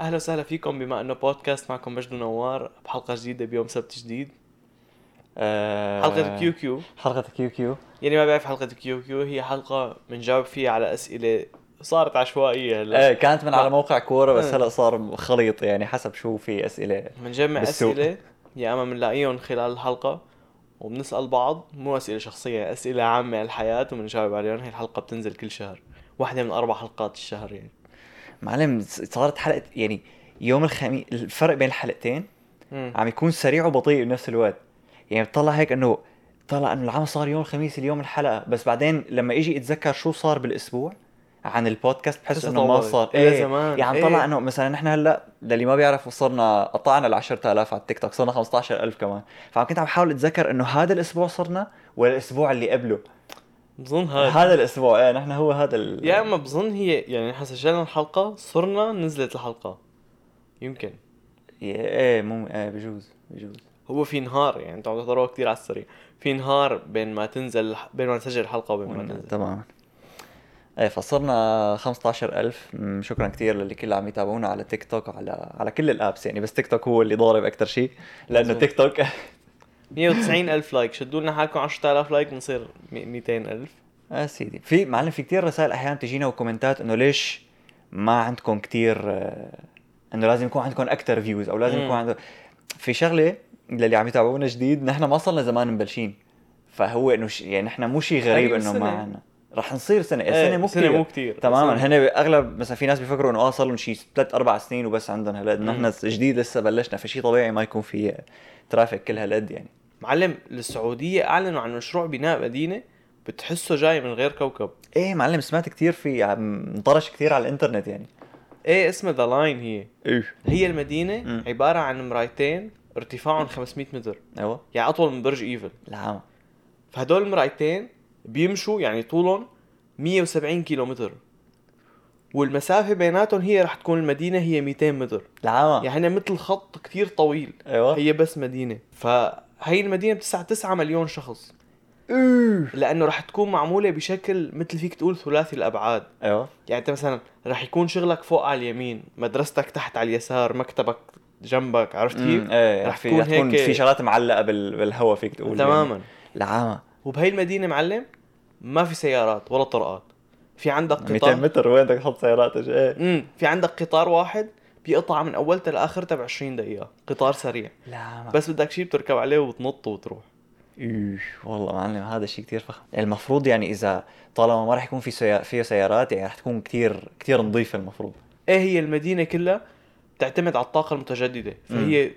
اهلا وسهلا فيكم بما انه بودكاست معكم مجد نوار بحلقه جديده بيوم سبت جديد آه، حلقه كيو كيو حلقة كيو كيو يلي ما بيعرف حلقه كيو كيو هي حلقه بنجاوب فيها على اسئله صارت عشوائيه آه هلا كانت من على موقع كورة بس آه. هلا صار خليط يعني حسب شو في أسئلة بنجمع بالسوق. اسئله يا اما بنلاقيهم خلال الحلقه وبنسال بعض مو اسئله شخصيه اسئله عامه على الحياه وبنجاوب عليهم هي الحلقه بتنزل كل شهر واحده من اربع حلقات الشهر يعني معلم صارت حلقة يعني يوم الخميس الفرق بين الحلقتين مم. عم يكون سريع وبطيء بنفس الوقت يعني بتطلع هيك انه طلع انه العمل صار يوم الخميس اليوم الحلقه بس بعدين لما اجي اتذكر شو صار بالاسبوع عن البودكاست بحس بس انه ما طول. صار إلى زمان. يعني طلع إيه. انه مثلا نحن هلا للي ما بيعرفوا صرنا قطعنا ال 10000 على التيك توك صرنا 15000 كمان فعم كنت عم بحاول اتذكر انه هذا الاسبوع صرنا ولا الاسبوع اللي قبله بظن هذا هذا الاسبوع ايه نحن هو هذا ال... يا اما بظن هي يعني نحن سجلنا الحلقه صرنا نزلت الحلقه يمكن ايه مو ايه بجوز بجوز هو في نهار يعني انتم عم تحضروها كثير على السريع في نهار بين ما تنزل بين ما نسجل الحلقه وبين ما تنزل تماما ايه فصرنا 15000 أمم، شكرا كثير للي كل عم يتابعونا على تيك توك على على كل الابس يعني بس تيك توك هو اللي ضارب اكثر شيء لانه مظبوط. تيك توك 190 الف لايك شدوا لنا حالكم 10000 لايك بنصير 200 الف اه سيدي في معلم في كثير رسائل احيانا تجينا وكومنتات انه ليش ما عندكم كثير انه لازم يكون عندكم اكثر فيوز او لازم مم. يكون عندكم في شغله للي عم يتابعونا جديد نحن ما صرنا زمان مبلشين فهو انه ش... يعني نحن مو شيء غريب قريب انه ما سنة. عندنا رح نصير سنه إيه، السنه مو سنة كتير مو كتير تماما سنة. هن اغلب مثلا في ناس بيفكروا انه اه صار لهم شيء ثلاث اربع سنين وبس عندهم هالقد مم. نحن جديد لسه بلشنا فشي طبيعي ما يكون في ترافيك كل هالقد يعني معلم السعوديه اعلنوا عن مشروع بناء مدينه بتحسه جاي من غير كوكب ايه معلم سمعت كثير في عم انطرش كثير على الانترنت يعني ايه اسمها ذا لاين هي ايه هي المدينه مم. عباره عن مرايتين ارتفاعهم 500 متر ايوه يعني اطول من برج ايفل العام فهدول المرايتين بيمشوا يعني طولهم 170 كيلومتر والمسافة بيناتهم هي رح تكون المدينة هي 200 متر العام يعني مثل خط كتير طويل ايوه هي بس مدينة فهي المدينة بتسع 9 مليون شخص أوه. لأنه رح تكون معمولة بشكل مثل فيك تقول ثلاثي الأبعاد ايوه يعني أنت مثلا رح يكون شغلك فوق على اليمين مدرستك تحت على اليسار مكتبك جنبك عرفت أمم، كيف؟ ايه رح رح في تكون رح تكون هيك- في شغلات معلقه بال... بالهواء فيك تقول يعني. تماما العام وبهي المدينة معلم ما في سيارات ولا طرقات في عندك 200 قطار متر وين بدك تحط سياراتك ايه امم في عندك قطار واحد بيقطع من اولته لاخرته ب 20 دقيقة، قطار سريع، العام بس بدك شيء بتركب عليه وبتنط وتروح. إيه، والله معلم هذا شيء كثير فخم المفروض يعني اذا طالما ما رح يكون في سيا... فيها سيارات يعني رح تكون كثير كثير نظيفه المفروض ايه هي المدينة كلها بتعتمد على الطاقة المتجددة، فهي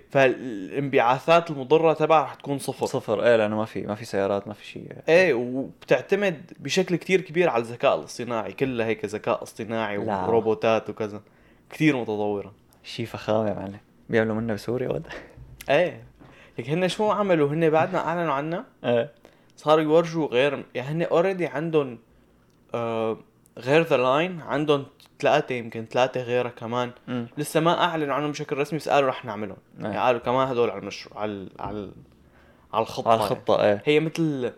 فالانبعاثات المضرة تبعها رح تكون صفر. صفر. صفر ايه لانه ما في ما في سيارات ما في شيء ايه وبتعتمد بشكل كتير كبير على الذكاء الاصطناعي، كلها هيك ذكاء اصطناعي لا. وروبوتات وكذا. كتير متطورة. شيء فخامه يا معلم بيعملوا منا بسوريا ولا ايه لك هن شو عملوا؟ هن بعدنا اعلنوا عنها ايه صاروا يورجوا غير يعني هن اوريدي عندهم آه غير ذا لاين عندهم ثلاثة يمكن ثلاثة غيرها كمان أمم. لسه ما اعلنوا عنهم بشكل رسمي بس قالوا رح نعملهم إيه. يعني قالوا كمان هدول على المشروع على على على الخطة على الخطه ايه يعني. هي مثل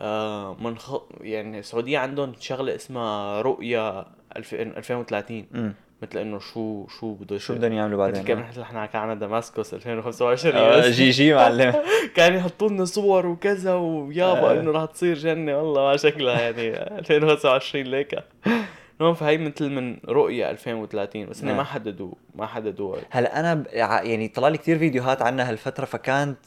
آه من خ... يعني السعودية عندهم شغلة اسمها رؤية 2000 2030 أمم. مثل انه شو شو بده شو بدهم يعملوا مثل كيف بعدين نحن نحن حكى عنها دماسكوس 2025 آه، بس. جي جي معلم كان يحطوا لنا صور وكذا ويابا آه. انه رح تصير جنه والله ما شكلها يعني 2025 ليك المهم فهي مثل من رؤية 2030 بس انه آه. ما حددوا ما حددوا وقت. هلا انا ب... ع- يعني طلع لي كثير فيديوهات عنها هالفتره فكانت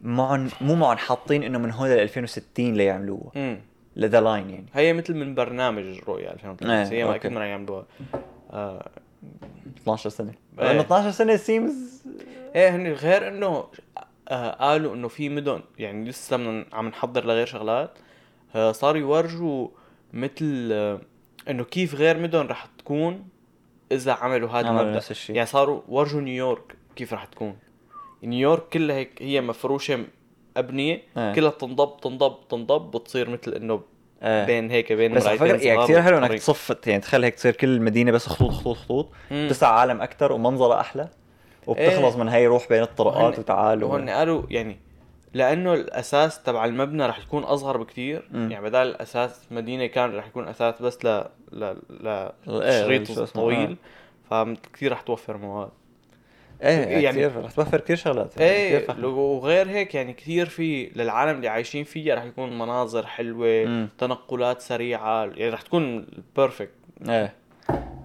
معن مو معن حاطين انه من هون ل 2060 ليعملوها امم لذا لاين يعني هي مثل من برنامج رؤية 2030 آه، هي ما أوكي. اكيد ما رح يعملوها آه، 12 سنه إيه. لانه 12 سنه سيمز ايه هن غير انه آه، قالوا انه في مدن يعني لسه من عم نحضر لغير شغلات آه، صاروا يورجوا مثل آه، انه كيف غير مدن رح تكون اذا عملوا هذا عملوا المبدا نفس الشيء. يعني صاروا ورجوا نيويورك كيف رح تكون نيويورك كلها هيك هي مفروشه ابنيه إيه. كلها بتنضب تنضب تنضب بتصير مثل انه إيه. بين هيك بين بس على مرايتين فكره يعني صغار كثير حلو انك وطريق. تصفت يعني تخيل هيك تصير كل المدينه بس خطوط خطوط خطوط مم. تسع عالم اكثر ومنظرها احلى وبتخلص إيه. من هي روح بين الطرقات وهن- وتعال و- وهن قالوا يعني لانه الاساس تبع المبنى رح يكون اصغر بكثير مم. يعني بدل الاساس مدينه كان رح يكون اساس بس ل ل إيه، لشريط آه. شو اسمه، طويل فكتير رح توفر مواد ايه يعني- يعني كثير رح توفر كثير شغلات ايه كثير فخم. لو- وغير هيك يعني كثير في للعالم اللي عايشين فيها رح يكون مناظر حلوه مم. تنقلات سريعه يعني رح تكون بيرفكت ايه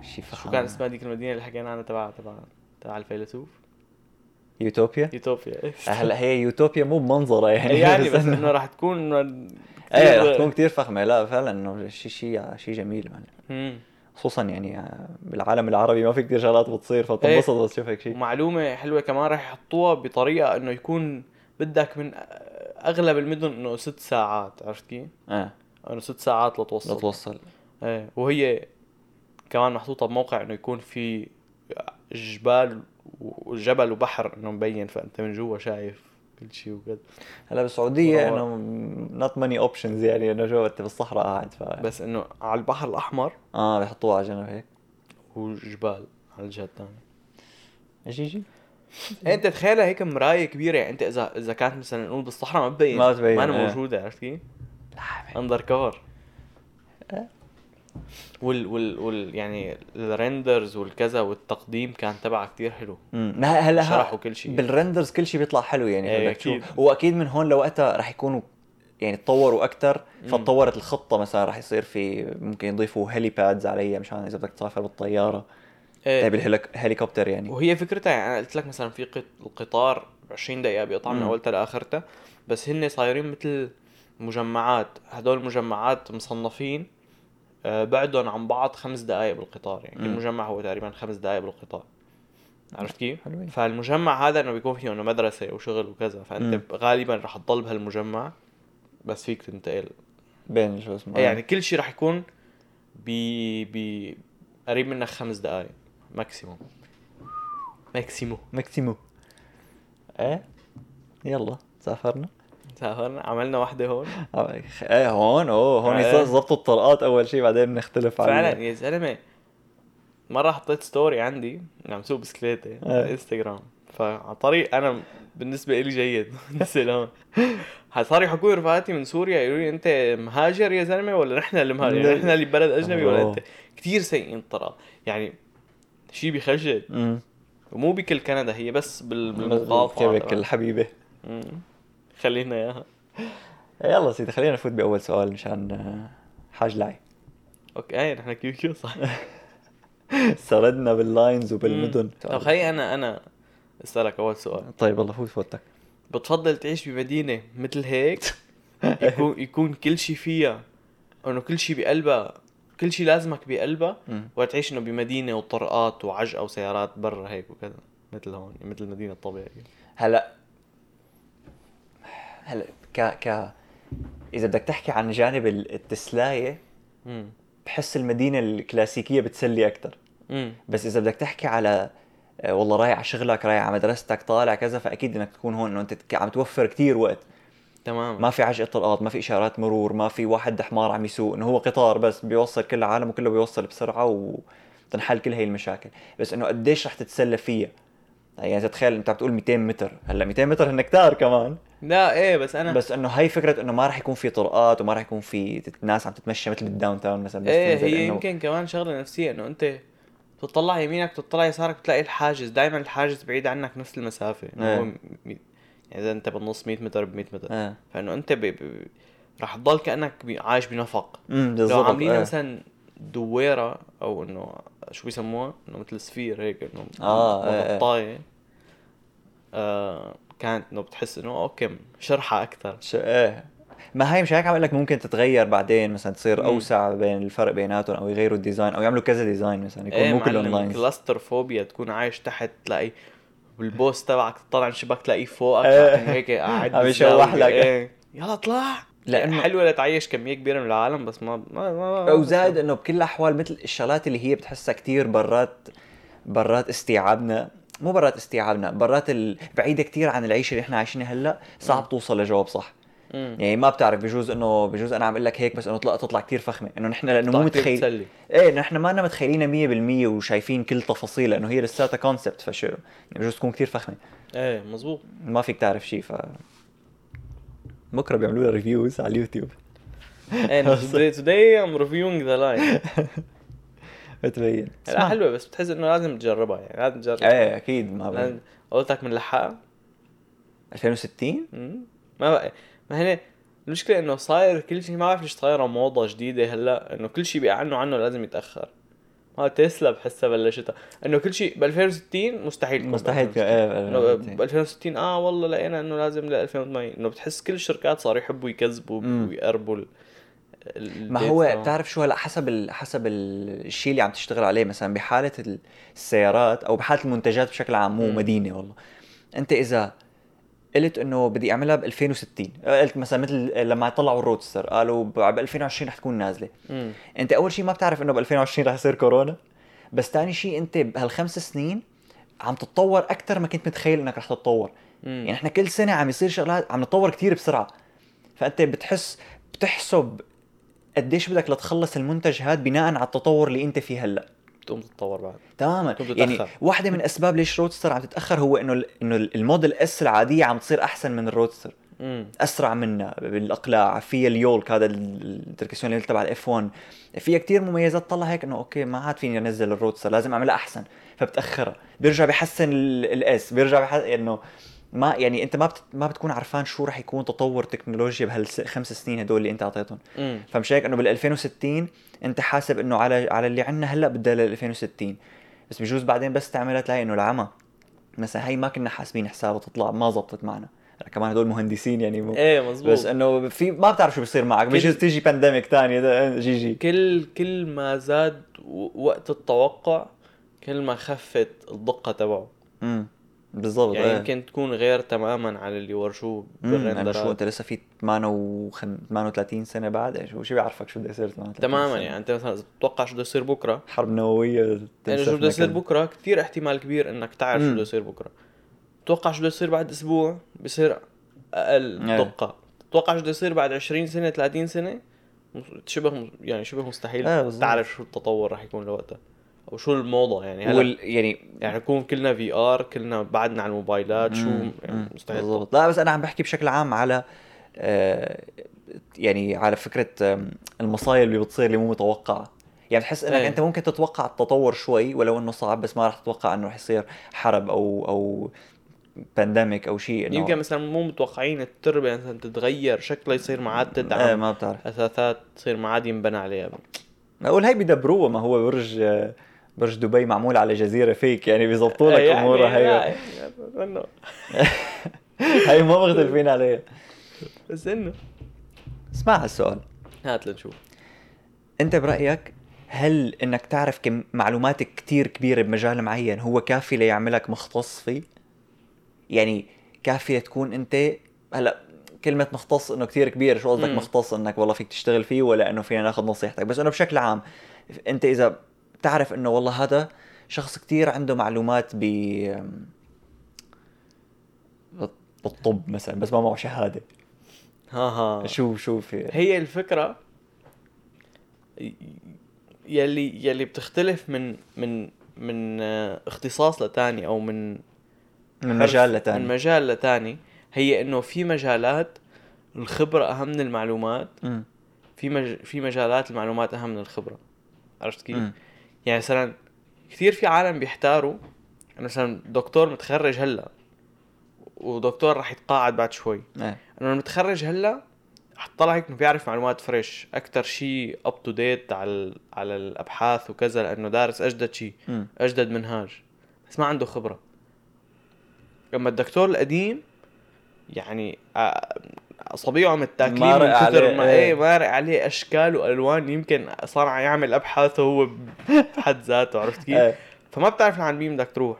شي فخم شو كان اسمها ديك المدينه اللي حكينا عنها تبع تبع تبع الفيلسوف يوتوبيا يوتوبيا إيه. آه، هلا هي يوتوبيا مو بمنظرها يعني يعني بس إنه- انه رح تكون ايه كتير- رح تكون كثير فخمه لا فعلا انه شيء شيء شيء جميل يعني مم. خصوصا يعني آه، بالعالم العربي ما في كثير شغلات بتصير فتنبسط إيه. بس تشوف هيك شيء ومعلومه حلوه كمان رح يحطوها بطريقه انه يكون بدك من اغلب المدن انه ست ساعات عرفت كيف؟ ايه انه ست ساعات لتوصل لتوصل ايه وهي كمان محطوطة بموقع انه يكون في جبال وجبل وبحر انه مبين فانت من جوا شايف كل شيء وكذا هلا بالسعوديه وروح. انه نوت ماني اوبشنز يعني انه جوا انت بالصحراء قاعد ف بس انه على البحر الاحمر اه رح يحطوها على جنب هيك وجبال على الجهة الثانية شي شي انت تخيلها هيك مراية كبيرة يعني انت اذا اذا كانت مثلا نقول بالصحراء ما بتبين ما بتبين، ما انا ايه. موجودة عرفت كيف؟ لا اندر كفر إيه. وال وال وال يعني الريندرز والكذا والتقديم كان تبعها كتير حلو امم هلا شرحوا ها كل شيء بالرندرز كل شيء بيطلع حلو يعني إيه، بدك أكيد. تشوف. واكيد من هون لوقتها رح يكونوا يعني تطوروا اكثر مم. فتطورت الخطه مثلا رح يصير في ممكن يضيفوا هيلي بادز عليها مشان اذا بدك تسافر بالطياره ايه. إيه. بالهليكوبتر يعني وهي فكرتها يعني انا قلت لك مثلا في قط... القطار 20 دقيقه بيقطع من مم. اولتها لاخرتها بس هن صايرين مثل مجمعات هدول المجمعات مصنفين آه، بعدهم عن بعض خمس دقائق بالقطار يعني كل مم. مجمع هو تقريبا خمس دقائق بالقطار عرفت كيف؟ حلوين فالمجمع هذا انه بيكون فيه انه مدرسه وشغل وكذا فانت مم. غالبا رح تضل بهالمجمع بس فيك تنتقل بين شو اسمه يعني كل شيء رح يكون ب ب قريب منك خمس دقائق ماكسيموم ماكسيموم ماكسيمو ايه يلا سافرنا سافرنا عملنا واحدة هون ايه هون اوه هون إيه. يصير ظبطوا الطرقات اول شيء بعدين بنختلف على فعلا يا زلمة مرة حطيت ستوري عندي عم سوق بسكليتي على إيه. انستغرام فعلى طريق انا بالنسبة لي جيد بالنسبة لهون صار يحكوا لي رفقاتي من سوريا يقولوا لي انت مهاجر يا زلمة ولا نحن اللي مهاجر يعني نحن اللي ببلد اجنبي ولا أوه. انت كثير سيئين الطرق يعني شيء بخجل امم ومو بكل كندا هي بس بال- بالمقاطعة كيفك تبعها. الحبيبه مم. خلينا اياها إيه، يلا سيدي خلينا نفوت باول سؤال مشان آه، حاج لعي اوكي ايه نحن كيو كيو صح سردنا باللاينز وبالمدن مم. طب خلي انا انا اسالك اول سؤال طيب والله فوت فوتك بتفضل تعيش بمدينه مثل هيك يكون يكون كل شيء فيها انه كل شيء بقلبها كل شيء لازمك بقلبها مم. ولا تعيش انه بمدينه وطرقات وعجقه وسيارات برا هيك وكذا مثل هون مثل المدينه الطبيعيه هلا هلا ك ك اذا بدك تحكي عن جانب ال- التسلايه امم بحس المدينه الكلاسيكيه بتسلي اكثر امم بس اذا بدك تحكي على آه، والله رايح على شغلك رايح على مدرستك طالع كذا فاكيد انك تكون هون انه انت تك- عم توفر كتير وقت تمام ما في عجقه طرقات ما في اشارات مرور ما في واحد حمار عم يسوق انه هو قطار بس بيوصل كل العالم وكله بيوصل بسرعه وتنحل كل هي المشاكل بس انه قديش رح تتسلى فيها يعني إذا تتخيل انت عم تقول 200 متر هلا 200 متر هن كتار كمان لا ايه بس انا بس انه هي فكره انه ما رح يكون في طرقات وما رح يكون في تت- ناس عم تتمشى مثل بالداون تاون مثلا بس ايه تنزل هي إنه- يمكن كمان شغله نفسيه انه انت بتطلع يمينك بتطلع يسارك بتلاقي الحاجز دائما الحاجز بعيد عنك نفس المسافه انه إيه. هو م- م- يعني اذا انت بالنص 100 متر ب 100 متر ايه فانه انت ب... ب... رح تضل كانك ب... عايش بنفق امم لو بالضبط عاملين إيه. مثلا دويره او انه شو بيسموها انه مثل سفير هيك انه آه، إيه، إيه. مغطايه آه كانت انه بتحس انه اوكي شرحه اكثر ش... ايه ما هي مش هيك عم اقول لك ممكن تتغير بعدين مثلا تصير مم. اوسع بين الفرق بيناتهم او يغيروا الديزاين او يعملوا كذا ديزاين مثلا إيه يكون مو كله اونلاين كلاستر فوبيا تكون عايش تحت تلاقي بالبوس تبعك تطلع من شباك تلاقيه فوقك إيه. إنه هيك قاعد عم بالزاوية. يشوح لك. إيه. يلا اطلع لأنه- لانه حلوه لتعيش كميه كبيره من العالم بس ما ما ما ما- او زائد انه بكل الاحوال مثل الشغلات اللي هي بتحسها كتير برات برات استيعابنا مو برات استيعابنا برات ال... بعيده كتير عن العيشه اللي احنا عايشينها هلا صعب توصل لجواب صح مم. يعني ما بتعرف بجوز انه بجوز انا عم اقول لك هيك بس انه طلع تطلع كتير فخمه انه نحن لانه مو طلع كتير متخيل بتسلي. ايه إنه نحن ما أنا متخيلينها 100% وشايفين كل تفاصيل لانه هي لساتها كونسبت فشو يعني بجوز تكون كتير فخمه ايه مزبوط ما فيك تعرف شيء ف بكره بيعملوا لها ريفيوز على اليوتيوب إيه، And today, today I'm reviewing the line. بتبين لا حلوه بس بتحس انه لازم تجربها يعني لازم تجربها ايه اكيد ما لازم بين قلت لك بنلحقها 2060 مم. ما بقى. ما هنا المشكله انه صاير كل شيء ما بعرف ليش صايره موضه جديده هلا انه كل شيء بيعلنوا عنه لازم يتاخر ما تسلا بحسها بلشتها انه كل شيء ب 2060 مستحيل تكون مستحيل ب 2060. ايه ب 2060 اه والله لقينا انه لازم ل 2080 انه بتحس كل الشركات صاروا يحبوا يكذبوا مم. ويقربوا ال- ال- ما الdates هو تبعهم. بتعرف شو هلا حسب ال... حسب ال- الشيء اللي عم تشتغل عليه مثلا بحاله ال- السيارات او بحاله المنتجات بشكل عام مو مم. مدينه والله انت اذا قلت انه بدي اعملها ب 2060 قلت مثلا مثل لما طلعوا الروتستر قالوا ب 2020 رح تكون نازله مم. انت اول شيء ما بتعرف انه ب 2020 رح يصير كورونا بس ثاني شيء انت بهالخمس سنين عم تتطور اكثر ما كنت متخيل انك رح تتطور مم. يعني احنا كل سنه عم يصير شغلات عم نتطور كتير بسرعه فانت بتحس بتحسب قديش بدك لتخلص المنتج هذا بناء على التطور اللي انت فيه هلا تقوم تتطور بعد تماما تكون يعني بتتأخر. واحده من اسباب ليش روتستر عم تتاخر هو انه ال- انه ال- الموديل اس العاديه عم تصير احسن من الروتستر مم. اسرع منا بالاقلاع فيها اليولك هذا ال- التركيسيون اللي تبع الاف 1 فيها كتير مميزات طلع هيك انه اوكي ما عاد فيني انزل الروتستر لازم اعملها احسن فبتاخرها بيرجع بحسن الاس بيرجع بحسن انه ما يعني انت ما بت... ما بتكون عارفان شو رح يكون تطور تكنولوجيا بهالخمس سنين هدول اللي انت اعطيتهم مم. فمش هيك انه بال 2060 انت حاسب انه على على اللي عندنا هلا بدها لل 2060 بس بجوز بعدين بس تعملها تلاقي انه العمى مثلا هي ما كنا حاسبين حسابها تطلع ما زبطت معنا كمان هدول مهندسين يعني مو ايه مزبوط بس انه في ما بتعرف شو بيصير معك بجوز تيجي بانديميك ثانيه إيه، جي جي كل كل ما زاد و- وقت التوقع كل ما خفت الدقه تبعه امم بالضبط يعني يعني يمكن تكون غير تماما على اللي ورجوه يمكن شو بالرندرات انت يعني لسه في 58 38 سنه بعد إيه، شو شو بيعرفك شو بده يصير 38 تماما سنة؟ يعني انت مثلا اذا بتتوقع شو بده يصير بكره حرب نوويه يعني شو بده تنسفنا يصير كذا. بكره كثير احتمال كبير انك تعرف شو مم. بده يصير بكره تتوقع شو بده يصير بعد اسبوع بصير اقل إيه. دقه تتوقع شو بده يصير بعد 20 سنه 30 سنه مس- شبه مس- يعني شبه إيه، مستحيل بالظبط. تعرف شو التطور رح يكون لوقتها او شو الموضه يعني هلا وال... يعني يعني نكون كلنا في ار كلنا بعدنا عن الموبايلات شو مم، مم، يعني مستحيل بالضبط لا بس انا عم بحكي بشكل عام على آه، يعني على فكره آم، المصايب اللي بتصير اللي مو متوقعه يعني بتحس انك إيه. انت ممكن تتوقع التطور شوي ولو انه صعب بس ما راح تتوقع انه رح يصير حرب او او بانديميك او شيء انه يمكن مثلا مو متوقعين التربه مثلا تتغير شكلها يصير ما عاد آه، تدعم ما بتعرف اثاثات تصير ما عاد ينبنى عليها اقول هي بيدبروها ما هو برج آه، برج دبي معمول على جزيره فيك يعني بيظبطوا لك يعني امورها هي لا، يعني انه هي ما مختلفين عليها بس انه اسمع هالسؤال هات لنشوف انت برايك هل انك تعرف كم معلومات كتير كبيره بمجال معين هو كافي ليعملك مختص فيه يعني كافي تكون انت هلا كلمة مختص انه كتير كبير شو قصدك مم. مختص انك والله فيك تشتغل فيه ولا انه فينا ناخذ نصيحتك بس انه بشكل عام انت اذا بتعرف انه والله هذا شخص كتير عنده معلومات ب بالطب مثلا بس ما معه شهادة ها ها شو شو في آه. هي الفكره ي- يلي يلي بتختلف من من من آه، اختصاص لتاني او من من حرف- مجال لتاني من مجال لتاني هي انه في مجالات الخبره اهم من المعلومات مم. في مج... في مجالات المعلومات اهم من الخبره عرفت كيف؟ مم. يعني مثلا كثير في عالم بيحتاروا انه مثلا دكتور متخرج هلا ودكتور رح يتقاعد بعد شوي ايه انه المتخرج هلا رح تطلع هيك انه بيعرف معلومات فريش اكثر شيء اب تو ديت على ال- على الابحاث وكذا لانه دارس اجدد شيء مم. اجدد منهاج بس ما عنده خبره اما الدكتور القديم يعني آه، اصابيعه متاكلين من مارق كثر عليه، ما إيه. ايه مارق عليه اشكال والوان يمكن صار عم يعمل ابحاثه هو بحد ذاته عرفت كيف؟ ايه فما بتعرف عن مين بدك تروح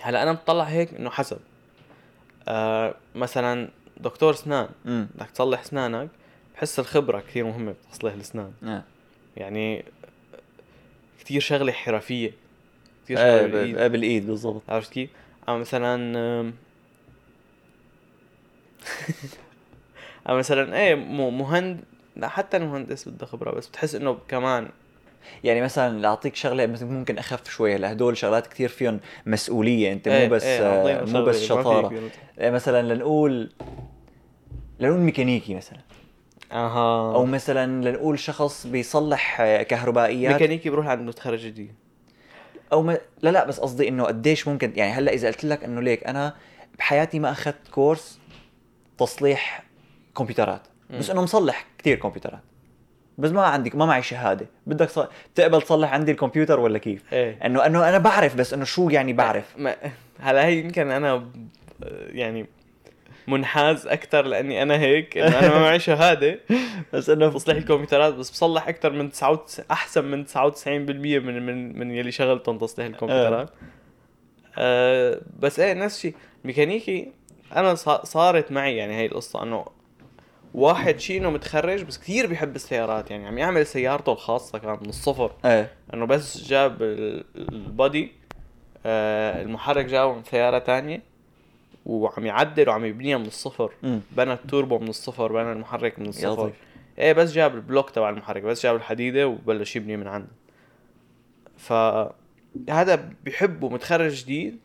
هلا انا بطلع هيك انه حسب آه مثلا دكتور اسنان مم. بدك تصلح اسنانك بحس الخبره كثير مهمه بتصليح الاسنان ايه يعني كثير شغله حرفيه كثير شغله ايه بالإيد. ب- إيه بالايد بالضبط عرفت كيف؟ أما مثلا أم- أما مثلا ايه مو- مهند لا حتى المهندس بده خبرة بس بتحس انه كمان يعني مثلا لاعطيك شغله مثل ممكن اخف شوي لهدول شغلات كثير فيهم مسؤوليه انت مو إيه، بس إيه، آه، عاطينا مو بس شغلة، ما شطاره فيك- إيه، مثلا لنقول لنقول ميكانيكي مثلا اها او مثلا لنقول شخص بيصلح آه، كهربائيات ميكانيكي بروح عند متخرج جديد او ما لا لا بس قصدي انه قديش ممكن يعني هلا اذا قلت لك انه ليك انا بحياتي ما اخذت كورس تصليح كمبيوترات بس مم. انه مصلح كثير كمبيوترات بس ما عندي ما معي شهاده بدك ص... تقبل تصلح عندي الكمبيوتر ولا كيف ايه انه انه انا بعرف بس انه شو يعني بعرف ما هلا هي يمكن انا ب- يعني منحاز اكثر لاني انا هيك انه انا ما معي شهاده بس انه بصلح الكمبيوترات بس بصلح اكثر من 99 احسن من 99% من من من يلي شغلتهم تصليح الكمبيوترات أه بس ايه نفس الشيء ميكانيكي انا صا- صارت معي يعني هي القصه انه واحد شيء انه متخرج بس كثير بيحب السيارات يعني عم يعمل سيارته الخاصه كان من الصفر ايه انه بس جاب ال- البادي آه، المحرك جابه من سياره تانية وعم يعدل وعم يبنيها من الصفر مم. بنى التوربو من الصفر بنى المحرك من يا الصفر لطيف ايه بس جاب البلوك تبع المحرك بس جاب الحديده وبلش يبني من عنده ف هذا بيحبه متخرج جديد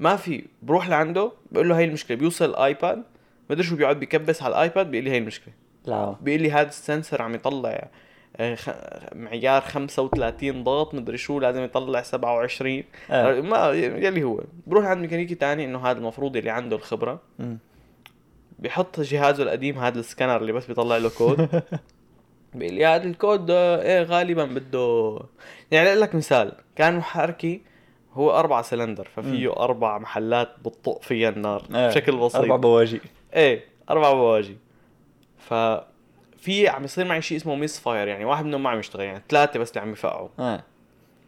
ما في بروح لعنده بقول له هي المشكله بيوصل الايباد مدري شو بيقعد بكبس على الايباد بيقول لي هي المشكله لا بيقول لي هذا السنسر عم يطلع آه، خ- معيار 35 ضغط مدري شو لازم يطلع 27 إيه. ما يلي هو بروح عند ميكانيكي تاني انه هذا المفروض اللي عنده الخبره مم. بحط جهازه القديم هذا السكانر اللي بس بيطلع له كود بيقول لي هذا الكود آه، ايه غالبا بده يعني اقول لك مثال كان محركي هو اربع سلندر ففيه اربع محلات بتطق فيها النار إيه. بشكل بسيط اربع بواجي ايه اربع بواجي ف في عم يصير معي شيء اسمه ميس فاير يعني واحد منهم ما عم يشتغل يعني ثلاثه بس اللي عم يفقعوا ايه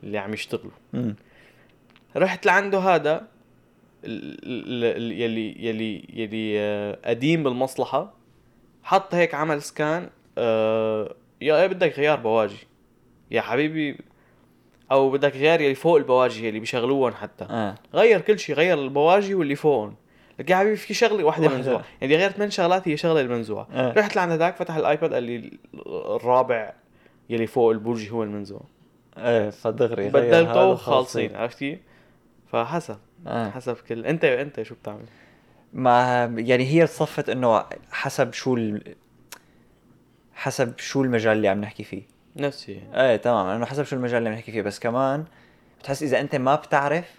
اللي عم يشتغلوا مم. رحت لعنده هذا ال- ال- ال- يلي يلي يلي آه، قديم بالمصلحه حط هيك عمل سكان آه، يا إيه بدك غيار بواجي يا حبيبي او بدك غيار يلي فوق البواجي يلي بيشغلوهم حتى ايه غير كل شيء غير البواجي واللي فوقهم لك يا حبيبي في شغله واحده واحدة. منزوعه يعني غير ثمان شغلات هي شغله المنزوعه إيه. رحت لعند هذاك فتح الايباد قال لي الرابع يلي فوق البرج هو المنزوع ايه فدغري غير بدلته هذا وخالصين عرفت كيف؟ فحسب ايه حسب كل انت انت شو بتعمل؟ ما يعني هي صفت انه حسب شو ال... حسب شو المجال اللي عم نحكي فيه نفسي ايه تمام انه حسب شو المجال اللي عم نحكي فيه بس كمان بتحس اذا انت ما بتعرف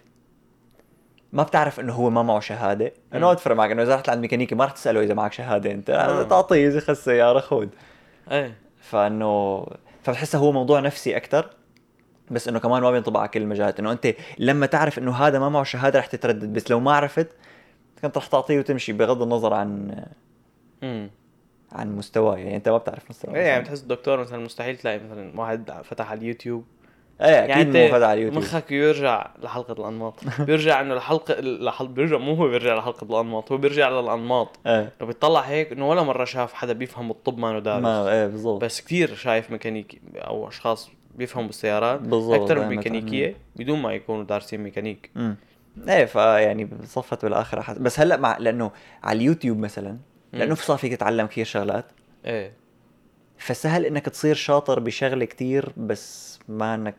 ما بتعرف انه هو ما معه شهاده انه ما مم. بتفرق معك انه اذا رحت لعند ميكانيكي ما رح تساله اذا معك شهاده انت آه. تعطيه اذا خذ سياره خذ ايه فانه فبتحسه هو موضوع نفسي اكثر بس انه كمان ما بينطبق على كل المجالات انه انت لما تعرف انه هذا ما معه شهاده رح تتردد بس لو ما عرفت كنت رح تعطيه وتمشي بغض النظر عن امم عن مستواه يعني انت ما بتعرف مستواه ايه يعني بتحس الدكتور مثلا مستحيل تلاقي مثلا واحد فتح على اليوتيوب ايه اكيد مو يعني أنت فدا على اليوتيوب مخك يرجع لحلقه الانماط بيرجع انه لحلقه لحل... بيرجع مو هو بيرجع لحلقه الانماط هو بيرجع للانماط ايه لو بيطلع هيك انه ولا مره شاف حدا بيفهم الطب ما دارس ما ايه بالضبط بس كثير شايف ميكانيكي او اشخاص بيفهموا بالسيارات بالضبط يعني اكثر من دايماً. ميكانيكيه بدون ما يكونوا دارسين ميكانيك امم ايه فيعني صفت بالاخر أحس... بس هلا مع لانه على اليوتيوب مثلا لانه صار فيك تتعلم كثير شغلات إيه. ايه فسهل انك تصير شاطر بشغله كثير بس ما انك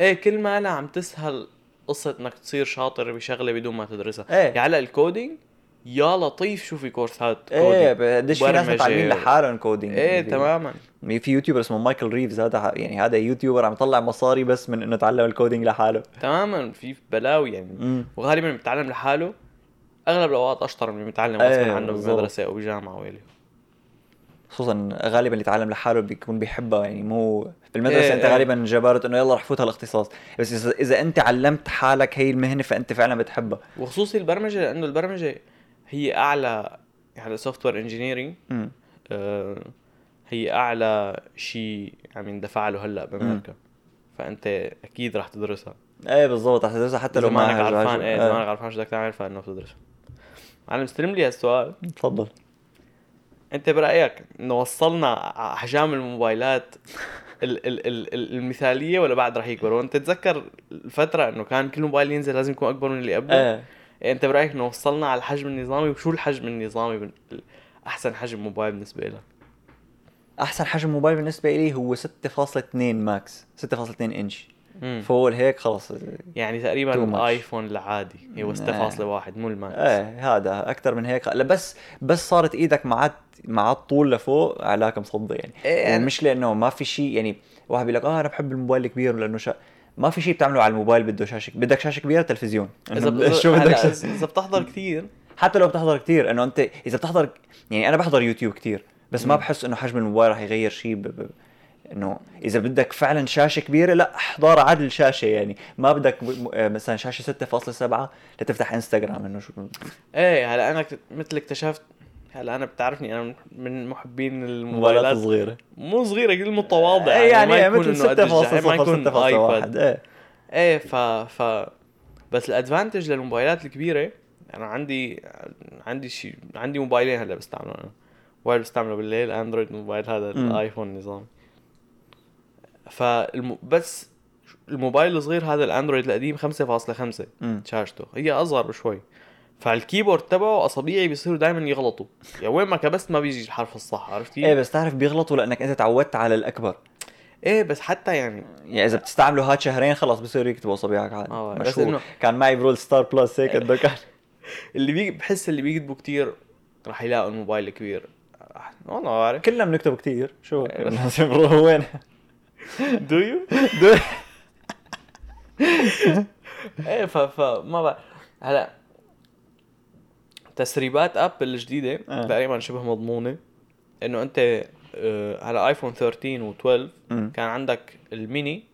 ايه كل ما انا عم تسهل قصه انك تصير شاطر بشغله بدون ما تدرسها ايه يعني هلا الكودينج يا لطيف شو في كورسات ايه كودينج قديش في ناس برمجة. متعلمين لحالهم كودينج ايه تماما في يوتيوبر اسمه مايكل ريفز هذا ح- يعني هذا يوتيوبر عم يطلع مصاري بس من انه تعلم الكودينج لحاله تماما في بلاوي يعني امم وغالبا اللي بيتعلم لحاله اغلب الاوقات اشطر من اللي بيتعلم ايه، غصبا عنه بالظبط. بمدرسه او بجامعه او إلي. خصوصا غالبا اللي يتعلم لحاله بيكون بيحبها يعني مو بالمدرسه إيه، انت إيه. غالبا جبرت انه يلا رح فوت هالاختصاص بس اذا اذا انت علمت حالك هي المهنه فانت فعلا بتحبها وخصوصي البرمجه لانه البرمجه هي اعلى يعني سوفت وير انجينيرنج امم هي اعلى شيء عم يندفع له هلا بامريكا فانت اكيد رح تدرسها ايه بالضبط رح تدرسها حتى اذا لو ما ما آه. إيه، انك عرفان ايه اذا ما انك عرفان شو بدك تعمل فانه بتدرسها معلم استلم لي هالسؤال تفضل انت برايك انه وصلنا ع- احجام الموبايلات ال ال ال ال المثاليه ولا بعد رح يكبروا انت تتذكر الفتره انه كان كل موبايل ينزل لازم يكون اكبر من اللي قبله ايه يعني انت برايك انه وصلنا على الحجم النظامي وشو الحجم النظامي بن... احسن حجم موبايل بالنسبه لك احسن حجم موبايل بالنسبه لي هو 6.2 ماكس 6.2 انش مم. فوق هيك خلص يعني Too تقريبا much. الايفون العادي هو آه. 6.1 مو الماكس ايه هذا اكثر من هيك لا بس بس صارت ايدك مع مع الطول لفوق علاك مصدي يعني إيه، أنا- ومش لانه ما في شيء يعني واحد بيقول لك اه انا بحب الموبايل الكبير لانه شا... ما في شيء بتعمله على الموبايل بده شاشه بده شاشه كبيره تلفزيون اذا إنه شو هلا بدك شاشة؟ اذا بتحضر كثير حتى لو بتحضر كتير انه انت اذا بتحضر يعني انا بحضر يوتيوب كتير بس ما مم. بحس انه حجم الموبايل رح يغير شيء ب... ب... انه اذا بدك فعلا شاشه كبيره لا احضار عدل شاشه يعني ما بدك م... م... آه، مثلا شاشه 6.7 لتفتح انستغرام انه شو ايه هلا انا كت- مثل اكتشفت هلا انا بتعرفني انا من- من محبين موبايلات الموبايلات صغيره مو صغيره كثير متواضع إيه، ما يعني يكون مثل إنه قد الجحيم، ما يكون 6.0 6.1 ايباد ايه ايه ف ف بس الادفانتج للموبايلات الكبيره انا عندي عندي شيء عندي موبايلين هلا بستعملهم انا موبايل بستعمله بالليل اندرويد موبايل هذا مم. الايفون نظام فالم... بس الموبايل الصغير هذا الاندرويد القديم 5.5 مم. شاشته هي اصغر بشوي فالكيبورد تبعه اصابيعي بيصيروا دائما يغلطوا يعني وين ما كبست ما بيجي الحرف الصح عرفت ايه ايه, بس تعرف بيغلطوا لانك انت تعودت على الاكبر إيه بس حتى يعني يعني اذا بتستعمله هاد شهرين خلص بصير يكتبوا صبيعك عادي آه، بس مشهور إنه- كان معي برول ستار بلس هيك إيه. قد كان اللي بي بحس اللي بيكتبوا كتير رح يلاقوا الموبايل الكبير أح- والله ما بعرف كلنا بنكتب كتير شو برو وين دو يو دو- ايه ف ف ما بعرف هلا تسريبات ابل الجديده آه. تقريبا شبه مضمونه انه انت آه، على ايفون 13 و12 مم. كان عندك الميني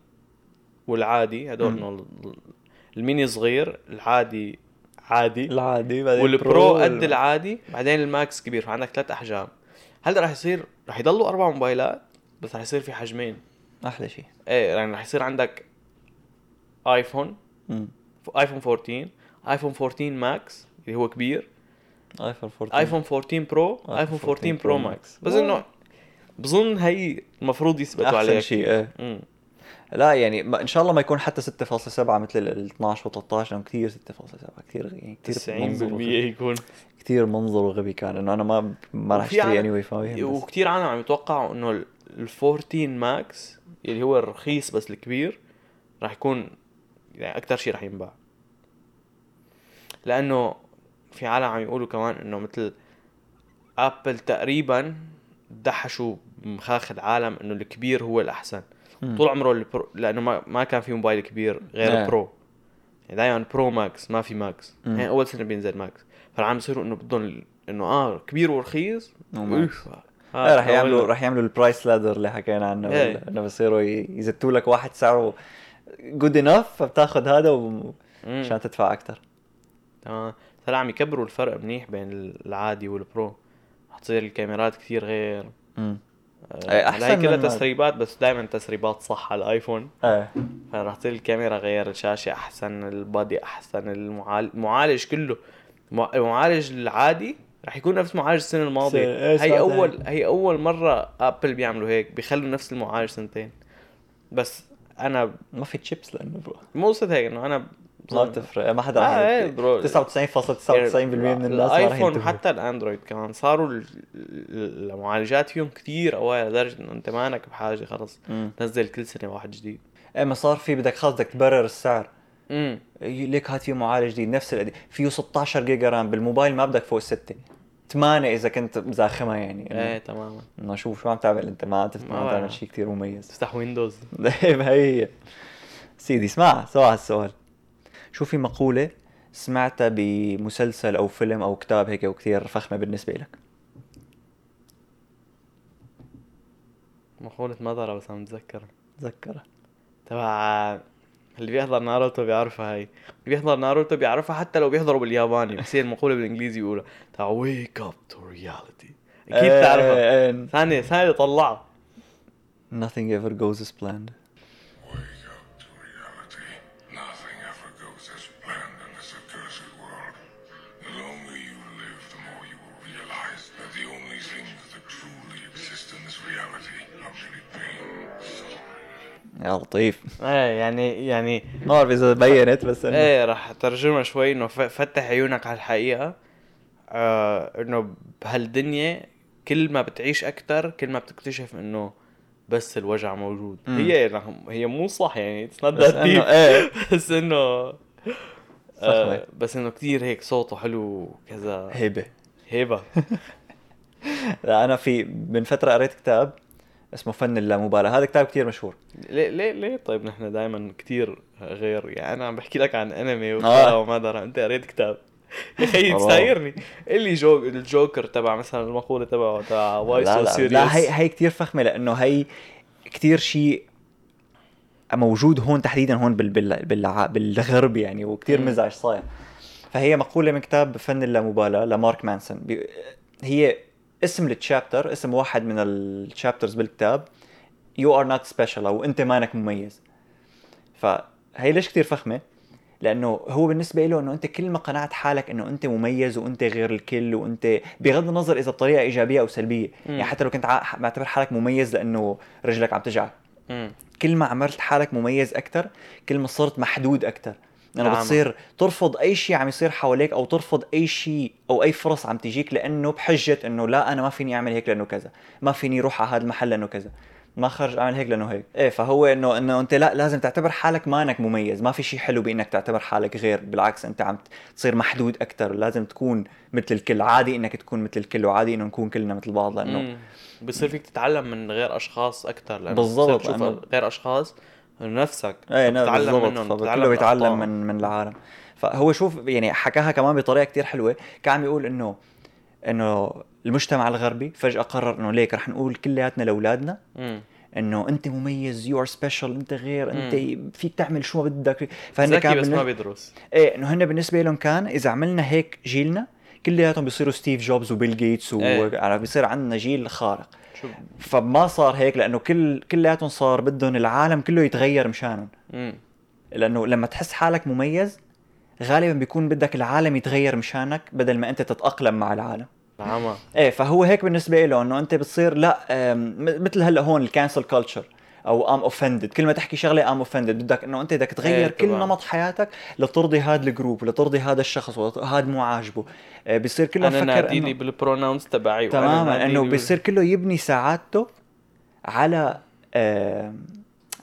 والعادي هدول مم. انه ال- الميني صغير العادي عادي العادي بعدين والبرو قد وال- العادي بعدين الماكس كبير فعندك ثلاث احجام هلا رح يصير رح يضلوا اربع موبايلات بس رح يصير في حجمين احلى شيء ايه يعني رح يصير عندك ايفون مم. ايفون 14 ايفون 14 ماكس اللي هو كبير ايفون 14 ايفون 14 برو ايفون 14 برو ماكس بس واو. انه بظن هي المفروض يثبتوا عليها احسن شيء ايه امم لا يعني ما ان شاء الله ما يكون حتى 6.7 مثل ال 12 و 13 لانه كثير 6.7 كثير يعني 90% كثير منظره يكون كثير منظره غبي كان انه انا ما ما راح وفي اشتري عالم- اني واي فاي وكثير عالم عم يتوقعوا انه ال- ال 14 ماكس اللي هو الرخيص بس الكبير راح يكون يعني اكثر شيء راح ينباع لانه في عالم عم يقولوا كمان انه مثل ابل تقريبا دحشوا مخاخ العالم انه الكبير هو الاحسن طول عمره البرو لانه ما, ما كان في موبايل كبير غير نعم. البرو يعني دائما برو ماكس ما في ماكس مم. يعني اول سنه بينزل ماكس فالعالم يصيروا انه بدهم ال- انه اه كبير ورخيص نو ماكس. أوف. آه رح هذا يعملوا ولا- رح يعملوا البرايس لادر اللي حكينا عنه إيه. وال- انه بصيروا ي- يزتوا لك واحد سعره جود انف فبتاخذ هذا و- مم. عشان تدفع اكثر تمام طلع عم يكبروا الفرق منيح بين العادي والبرو رح تصير الكاميرات كثير غير إيه، أحسن هي أحسن كلها من- تسريبات بس دائما تسريبات صح على الايفون ايه فرح تصير الكاميرا غير الشاشة أحسن البادي أحسن المعالج المعالج كله مع- المعالج العادي رح يكون نفس معالج السنة الماضية سنة- إيه، هي سمعت أول هي أول مرة أبل بيعملوا هيك بيخلوا نفس المعالج سنتين بس أنا ما في تشيبس لانه برو مو قصة هيك إنه أنا ما بتفرق ما حدا آه، رح إيه، يركز. برو. 99.99% إيه، من الناس ما رح الايفون ينتبهوا وحتى الاندرويد كمان صاروا ال- ال- المعالجات فيهم كثير قوية لدرجة انه انت مانك بحاجة خلص مم. تنزل كل سنة واحد جديد ايه ما صار في بدك خلص بدك تبرر السعر امم إيه، ليك هات فيه معالج جديد نفس القديم فيه 16 جيجا رام بالموبايل ما بدك فوق 6 8 اذا كنت مزاخمها يعني ايه إنه- تماما انه شوف شو عم تعمل انت ما عم تف- ما ما عم بعرف. تعمل شيء كثير مميز تفتح ويندوز طيب هي هي. سيدي اسمع سوا على السؤال شو في مقولة سمعتها بمسلسل أو فيلم أو كتاب هيك وكثير فخمة بالنسبة لك مقولة مضرة بس عم اتذكر تذكرها تبع اللي بيحضر ناروتو بيعرفها هي اللي بيحضر ناروتو بيعرفها حتى لو بيحضروا بالياباني بس هي المقولة بالانجليزي بيقولها تبع ويك اب تو رياليتي اكيد آه، بتعرفها تعرفها ثانية ثانية طلعها Nothing ever goes as planned Wake up to reality. Nothing ever goes as planned in this accursed world. The longer you live, the more you will realize that the only things that truly exist in this reality are really pain, suffering, يا لطيف ايه يعني يعني ما بعرف إذا بينت بس إنه ايه رح ترجمها شوي انه ف- فتح عيونك على الحقيقة آه انه بهالدنيا كل ما بتعيش اكتر كل ما بتكتشف انه بس الوجع موجود هي رغم- هي مو صح يعني اتس نوت بس انه ذات ايه بس انه آه، صخبة. بس انه كتير هيك صوته حلو وكذا هيبه هيبه لا انا في من فتره قريت كتاب اسمه فن اللامبالاه هذا كتاب كتير مشهور ليه ليه ليه طيب نحن دائما كتير غير يعني انا عم بحكي لك عن انمي آه. وكذا وما درى انت قريت كتاب يا اخي والله. تسايرني اللي جوك الجوكر تبع مثلا المقوله تبعه تبع واي لا سو لا, لا هي سيريس هي كثير فخمه لانه هي كثير شيء موجود هون تحديدا هون بال بال بال بالغرب يعني وكثير مم. مزعج صاير فهي مقوله من كتاب فن اللامبالاه لمارك مانسون بي هي اسم التشابتر اسم واحد من التشابترز بالكتاب يو ار نوت سبيشال او انت مانك مميز فهي ليش كثير فخمه لانه هو بالنسبه له انه انت كل ما قنعت حالك انه انت مميز وانت غير الكل وانت بغض النظر اذا بطريقه ايجابيه او سلبيه مم. يعني حتى لو كنت عا- معتبر حالك مميز لانه رجلك عم تجعك كل ما عملت حالك مميز اكثر كل ما صرت محدود اكثر لانه نعم. بتصير ترفض اي شيء عم يصير حواليك او ترفض اي شيء او اي فرص عم تجيك لانه بحجه انه لا انا ما فيني اعمل هيك لانه كذا ما فيني اروح على هذا المحل لانه كذا ما خرج اعمل هيك لانه هيك ايه فهو انه انه انت لا لازم تعتبر حالك مانك مميز ما في شيء حلو بانك تعتبر حالك غير بالعكس انت عم تصير محدود اكثر لازم تكون مثل الكل عادي انك تكون مثل الكل وعادي انه نكون كلنا مثل بعض لانه بصير فيك تتعلم من غير اشخاص اكثر لانه بالضبط، بتصير تشوف لأنه- غير اشخاص إنه نفسك ايه نعم بتتعلم بالضبط منهم، فبت- بتتعلم كله بيتعلم بأخطائهم. من من العالم فهو شوف يعني حكاها كمان بطريقه كتير حلوه كان عم يقول انه انه المجتمع الغربي فجاه قرر انه ليك رح نقول كلياتنا لاولادنا مم. انه انت مميز يو ار سبيشال انت غير انت فيك تعمل شو ما بدك فهن ذكي كان بس ما بالنسبه بيدرس ايه انه هن بالنسبه لهم كان اذا عملنا هيك جيلنا كلياتهم بيصيروا ستيف جوبز وبيل جيتس و... إيه. يعني بيصير عندنا جيل خارق شو فما صار هيك لانه كل كلياتهم صار بدهم العالم كله يتغير مشانهم مم. لانه لما تحس حالك مميز غالبا بيكون بدك العالم يتغير مشانك بدل ما انت تتاقلم مع العالم العمى ايه فهو هيك بالنسبه له انه انت بتصير لا أم، م- مثل هلا هون الكانسل كلتشر او ام اوفندد كل ما تحكي شغله ام اوفندد بدك انه انت بدك تغير إيه، كل طبعاً. نمط حياتك لترضي هذا الجروب لترضي هذا الشخص وهذا مو عاجبه آه، بيصير كله انا مفكر ناديلي انه بالبروناونز تبعي وأنا تماما ناديلي انه بال- بيصير كله يبني سعادته على آه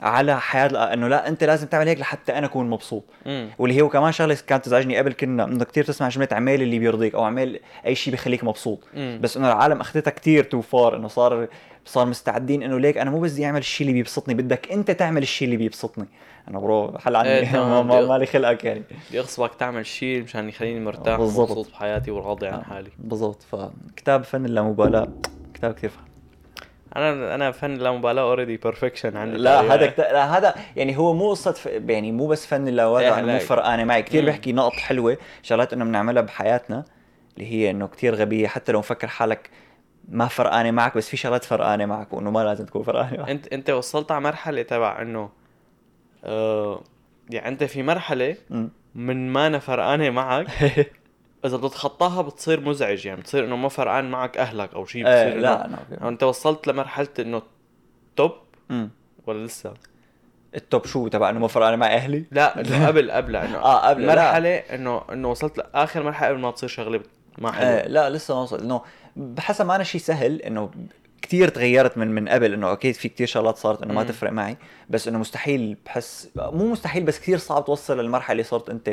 على حياه انه لا انت لازم تعمل هيك لحتى انا اكون مبسوط مم. واللي هو كمان شغله كانت تزعجني قبل كنا انه كثير تسمع جمله اعمل اللي بيرضيك او اعمل اي شيء بيخليك مبسوط مم. بس انه العالم اخذتها كثير تو فار انه صار صار مستعدين انه ليك انا مو بس بدي اعمل الشيء اللي بيبسطني بدك انت تعمل الشيء اللي بيبسطني انا برو حل عني إيه، ما- تمام، ما- بدي- مالي خلقك يعني بدي اغصبك تعمل شيء مشان يخليني مرتاح بالضبط. آه. ومبسوط بحياتي وراضي عن حالي بالضبط فكتاب فن اللامبالاه كتاب كثير فخم انا انا فن اللامبالاه اوريدي بيرفكشن عندي لا تقريباً. هذا كت... لا هذا يعني هو مو قصه ف... يعني مو بس فن إيه، لا انا مو لا. فرقانه معي كثير مم. بحكي نقط حلوه شغلات انه بنعملها بحياتنا اللي هي انه كثير غبيه حتى لو مفكر حالك ما فرقانه معك بس في شغلات فرقانه معك وانه ما لازم تكون فرقانه معك انت انت وصلت على مرحله تبع انه آه يعني انت في مرحله مم. من ما انا فرقانه معك اذا بتتخطاها بتصير مزعج يعني بتصير انه ما فرقان معك اهلك او شيء إيه، بتصير لا لا أنا- انت وصلت لمرحله انه توب مم. ولا لسه التوب شو تبع انه ما فرقانه مع اهلي لا إنه قبل قبل انه آه، قبل، لا. مرحله انه انه وصلت لاخر مرحله قبل ما تصير شغله ما حلوه آه لا لسه ما وصل انه بحسب ما انا شيء سهل انه كثير تغيرت من من قبل انه اكيد في كثير شغلات صارت انه ما مم. تفرق معي بس انه مستحيل بحس مو مستحيل بس كثير صعب توصل للمرحله اللي صرت انت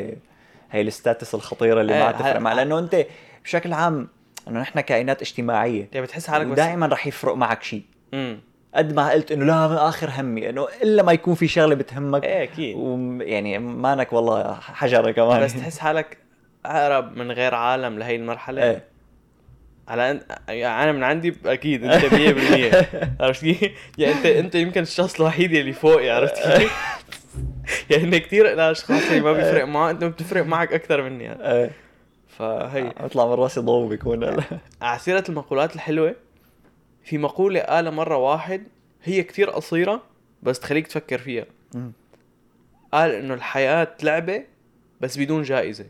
هي الستاتس الخطيره اللي إيه، ما هاي- تفرق معي لانه انت بشكل عام انه نحن كائنات اجتماعيه يعني بتحس حالك بس ودائما رح يفرق معك شيء امم قد ما قلت انه لا ما اخر همي انه الا ما يكون في شغله بتهمك ايه اكيد ويعني مانك والله حجره كمان بس تحس حالك اقرب من غير عالم لهي المرحله ايه على أن... يعني انا من عندي اكيد انت 100% عرفت كيف؟ يعني انت انت يمكن الشخص الوحيد اللي فوقي عرفت كيف؟ آه. يعني كثير الاشخاص اللي ما بيفرق معهم انت بتفرق معك اكثر مني يعني. ايه فهي آه، اطلع من راسي ضوء بيكون على سيرة المقولات الحلوة في مقولة قالها مرة واحد هي كتير قصيرة بس تخليك تفكر فيها مم. قال انه الحياة لعبة بس بدون جائزة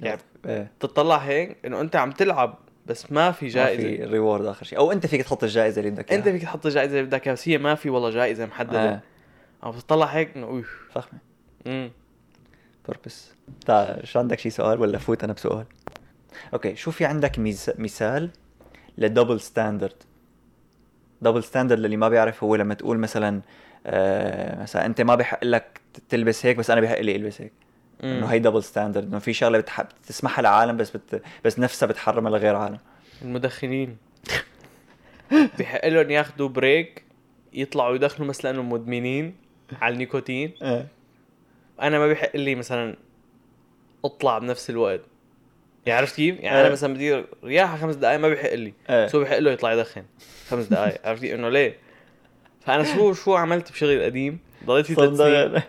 يعني ايه تطلع هيك انه انت عم تلعب بس ما في جائزة جائزه ريورد اخر شيء او انت فيك تحط الجائزه اللي بدك انت إياها. فيك تحط الجائزة اللي بدك اياها بس هي ما في والله جائزة محددة آه، آه. عم بتطلع هيك انه اوف فخمه مم. بيربس تعال شو عندك شي سؤال ولا فوت انا بسؤال اوكي شو في عندك ميز... مثال لدبل ستاندرد دبل ستاندرد للي ما بيعرف هو لما تقول مثلا آه مثلا انت ما بحق لك تلبس هيك بس انا بحق لي البس هيك مم. انه هي دبل ستاندرد انه في شغله بتح... بتسمحها لعالم بس بت... بس نفسها بتحرمها لغير عالم المدخنين بحق لهم ياخذوا بريك يطلعوا يدخنوا بس لانهم مدمنين على النيكوتين ايه انا ما بحق لي مثلا اطلع بنفس الوقت يعني عرفت كيف؟ يعني انا إيه. مثلا بدي رياحه خمس دقائق ما بحق لي ايه سو بحق له يطلع يدخن خمس دقائق عرفت كيف؟ انه ليه؟ فانا شو شو عملت بشغل قديم ضليت فيه ثلاث سنين صندوق-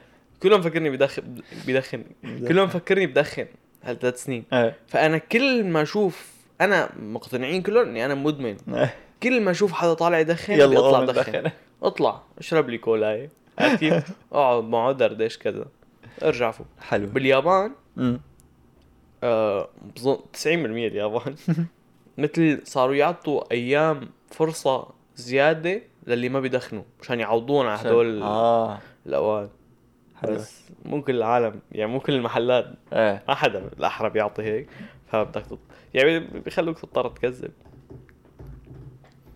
كلهم فكرني بدخن بدخن كلهم فكرني بدخن هالثلاث سنين ايه فانا كل ما اشوف انا مقتنعين كلهم اني انا مدمن إيه. كل ما اشوف حدا طالع يدخن يلا آه، يلا اطلع قوم دخن دخن اطلع اشرب لي كولاي عرفت كيف؟ اقعد معه دردش كذا ارجع فوق حلو باليابان مم. آه بظن 90% اليابان مثل صاروا يعطوا ايام فرصه زياده للي ما بيدخنوا مشان يعوضون على هدول اه الاوان حلو بس مو كل العالم يعني مو كل المحلات ايه ما حدا بالاحرى بيعطي هيك فبدك تط... يعني بيخلوك تضطر تكذب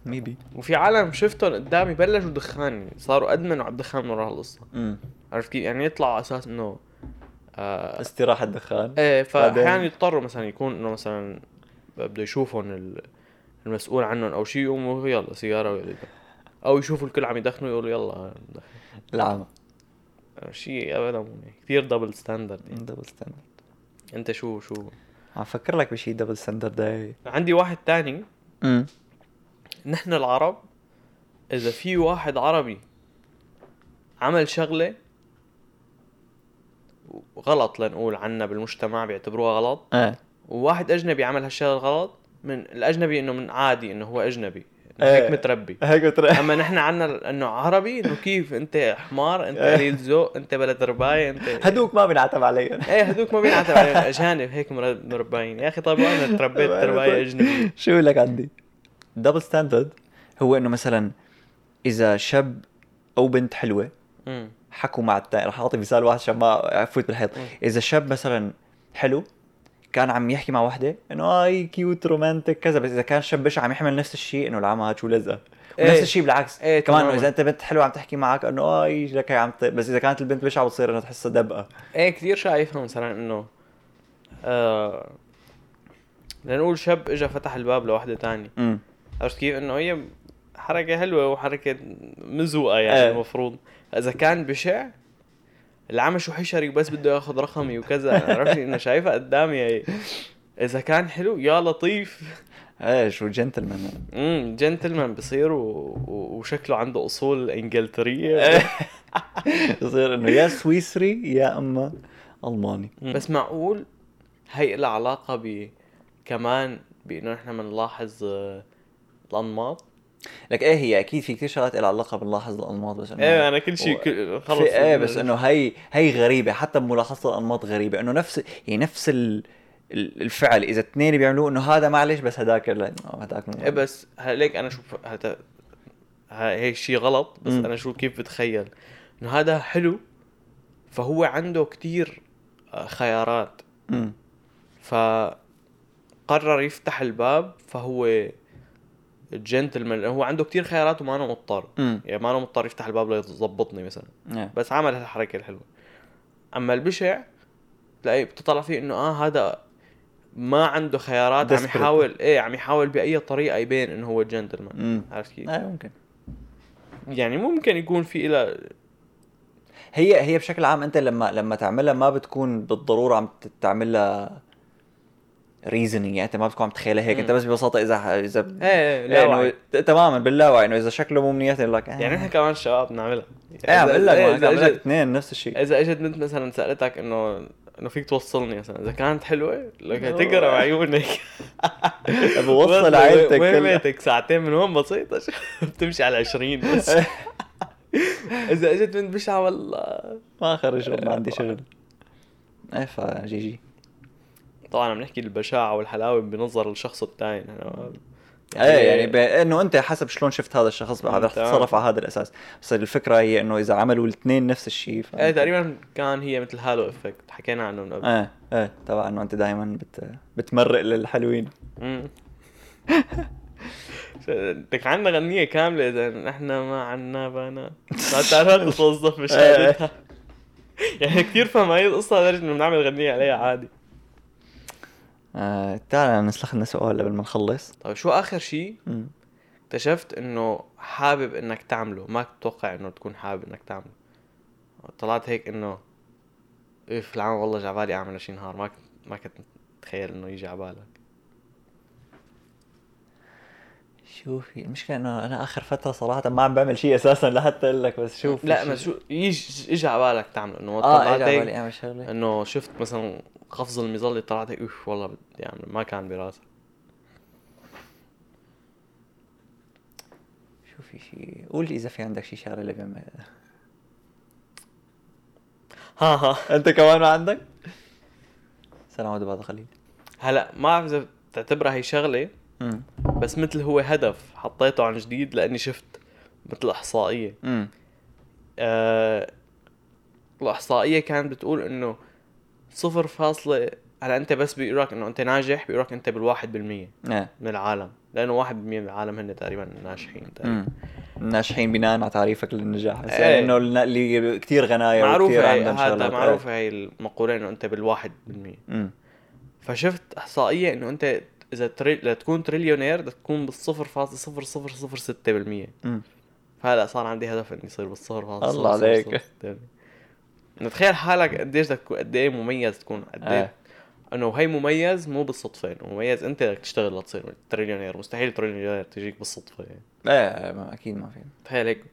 ميبي وفي عالم شفتهم قدامي بلشوا دخان صاروا ادمنوا على الدخان من ورا هالقصه امم عرفت كيف يعني يطلعوا على اساس انه آه استراحه دخان ايه فاحيانا بعدين؟ يضطروا مثلا يكون انه مثلا بده يشوفهم ال- المسؤول عنهم او شيء يقوموا يلا سيجاره ويلا يدخن. او يشوفوا الكل عم يدخنوا يقولوا يلا ندخن. العمى شيء ابدا مو هيك. يعني كثير دبل ستاندرد يعني. دبل ستاندرد انت شو شو آه، عم فكر لك بشي دبل ستاندرد هاي عندي واحد تاني امم نحن العرب اذا في واحد عربي عمل شغله غلط لنقول عنا بالمجتمع بيعتبروها غلط ايه وواحد اجنبي عمل هالشغله غلط من الاجنبي انه من عادي انه هو اجنبي إنه إيه. هيك متربي هيك بتريح اما نحن عنا انه عربي انه كيف انت حمار انت إيه. قليل ذوق انت بلا تربايه انت هدوك ما بنعتب علي ايه هذوك ما بينعتب عليهم اجانب هيك مر- مربعين يا اخي طيب انا تربيت تربايه طيب. اجنبيه شو لك عندي دبل ستاندرد هو انه مثلا اذا شاب او بنت حلوه أمم. حكوا مع التاني رح اعطي مثال واحد عشان ما افوت بالحيط مم. اذا شاب مثلا حلو كان عم يحكي مع وحده انه اي كيوت رومانتك كذا بس اذا كان شاب بشع عم يحمل نفس الشيء انه العمى هاد شو لزقه ونفس إيه. الشيء بالعكس إيه، كمان تماماً. إنه اذا انت بنت حلوه عم تحكي معك انه اي لك هي عم ت... بس اذا كانت البنت بشعه بتصير انه تحسها دبقه ايه كثير شايفها مثلا انه آه لنقول شاب اجى فتح الباب لوحده تانية امم عرفت كيف انه هي حركة حلوة وحركة مزوقة يعني إيه. ايه. المفروض اذا كان بشع العمى شو حشري بس بده ياخذ رقمي وكذا عرفت انه شايفها قدامي هي اذا كان حلو يا لطيف ايه شو جنتلمان امم جنتلمان بصير و... و... وشكله عنده اصول انجلتريه بصير انه يا سويسري يا اما الماني بس معقول هي لها علاقة ب كمان بانه نحن بنلاحظ آه، الانماط لك ايه هي اكيد في كثير شغلات لها علاقه بنلاحظ الانماط بس انه ايه انا كل و- شيء كل- خلص يعني. في ايه بس انه هي هي غريبه حتى بملاحظه الانماط غريبه انه نفس يعني نفس ال ال- الفعل اذا اثنين بيعملوه انه هذا معلش بس هداك لا آه، هداك مو- ايه بس هليك انا شوف هت... ه- هيك شيء غلط بس مم. انا شو كيف بتخيل انه هذا حلو فهو عنده كتير آه، خيارات أمم. فقرر يفتح الباب فهو جنتلمان هو عنده كتير خيارات وما أنا مضطر أمم. يعني ما أنا مضطر يفتح الباب ليظبطني مثلا إيه. بس عمل هالحركه الحلوه اما البشع تلاقي بتطلع فيه انه اه هذا ما عنده خيارات عم Desperate. يحاول ايه عم يحاول باي طريقه يبين انه هو جنتلمان أمم. عرفت كيف؟ ايه ممكن يعني ممكن يكون في إلها هي هي بشكل عام انت لما لما تعملها ما بتكون بالضروره عم ت- تعملها ريزنينج يعني انت ما بتكون عم تخيلها هيك أمم. انت بس ببساطه اذا اذا ايه إيه، لا إيه، إنه وعي. ت- تماما باللاوعي انه اذا شكله مو منيح لك يعني نحن كمان شباب بنعملها ايه عم بقول لك ما إذا عم بقول لك إجت- اثنين نفس الشيء اذا اجت بنت مثلا سالتك انه انه فيك توصلني مثلا اذا كانت حلوه لك تقرا بعيونك بوصل عائلتك وين كلها بيتك ساعتين من هون بسيطة بتمشي على 20 بس إذا إجت بنت بشعة والله ما خرج ما عندي شغل ايه فجي جي طبعا عم نحكي البشاعة والحلاوة بنظر الشخص الثاني نحن ايه يعني ب... انه انت حسب شلون شفت هذا الشخص مم، رح تمام. تتصرف على هذا الاساس بس الفكره هي انه اذا عملوا الاثنين نفس الشيء ف... ايه تقريبا كان هي مثل هالو افكت حكينا عنه من قبل ايه ايه طبعا انه انت دائما بت... بتمرق للحلوين مم. لك عنا غنية كاملة إذا نحن ما عنا بنات ما تعرف القصة في شهادتها يعني كثير فهم هاي القصة لدرجة إنه بنعمل غنية عليها عادي آه تعال نسلخ لنا سؤال قبل ما نخلص طيب شو آخر شيء مم. اكتشفت إنه حابب إنك تعمله ما تتوقع إنه تكون حابب إنك تعمله طلعت هيك إنه إف العام والله جعبالي أعمل شي نهار ما كنت ما كنت تخيل إنه يجي عبالك شوفي المشكلة انه انا اخر فترة صراحة ما عم بعمل شيء اساسا لحتى اقول لك بس شوف لا بس شو آه، يجي اجى على بالك تعمله انه اه طلعت اجى هيك على بالي اعمل شغلة انه شفت مثلا قفز المظلة طلعت هيك اوف والله بدي اعمل ما كان براسي شوفي شيء قول لي اذا في عندك شيء شغلة اللي بعمل ها ها انت كمان ما عندك؟ سلام عليكم بعد قليل هلا ما بعرف اذا بتعتبرها هي شغله امم بس مثل هو هدف حطيته عن جديد لاني شفت مثل احصائيه امم آه الاحصائيه كانت بتقول انه صفر فاصلة هلا انت بس بيقولك انه انت ناجح بيقولك انت بالواحد بالمية ايه من العالم لانه واحد بالمية من العالم هن تقريبا ناجحين تقريبا امم ناجحين بناء على تعريفك للنجاح بس طيب. إيه. يعني انه النا- اللي كثير غنايا وكثير معروفة هي- أيوة، عندهم شغلات هذا إيه. معروفة هي المقولة انه انت بالواحد بالمية امم فشفت احصائية انه انت اذا تري... لتكون تريليونير بدك تكون بالصفر فاصل صفر صفر صفر ستة بالمية امم فهلا صار عندي هدف اني صير بالصفر فاصل الله صفر صفر عليك. صفر ستة بالمية. نتخيل حالك قديش بدك تكون قد ايه مميز تكون قد ايه إيه. انه هي مميز مو بالصدفة انه مميز انت بدك تشتغل لتصير تريليونير مستحيل تريليونير تجيك بالصدفة يعني ايه ما- اكيد ما في تخيل هيك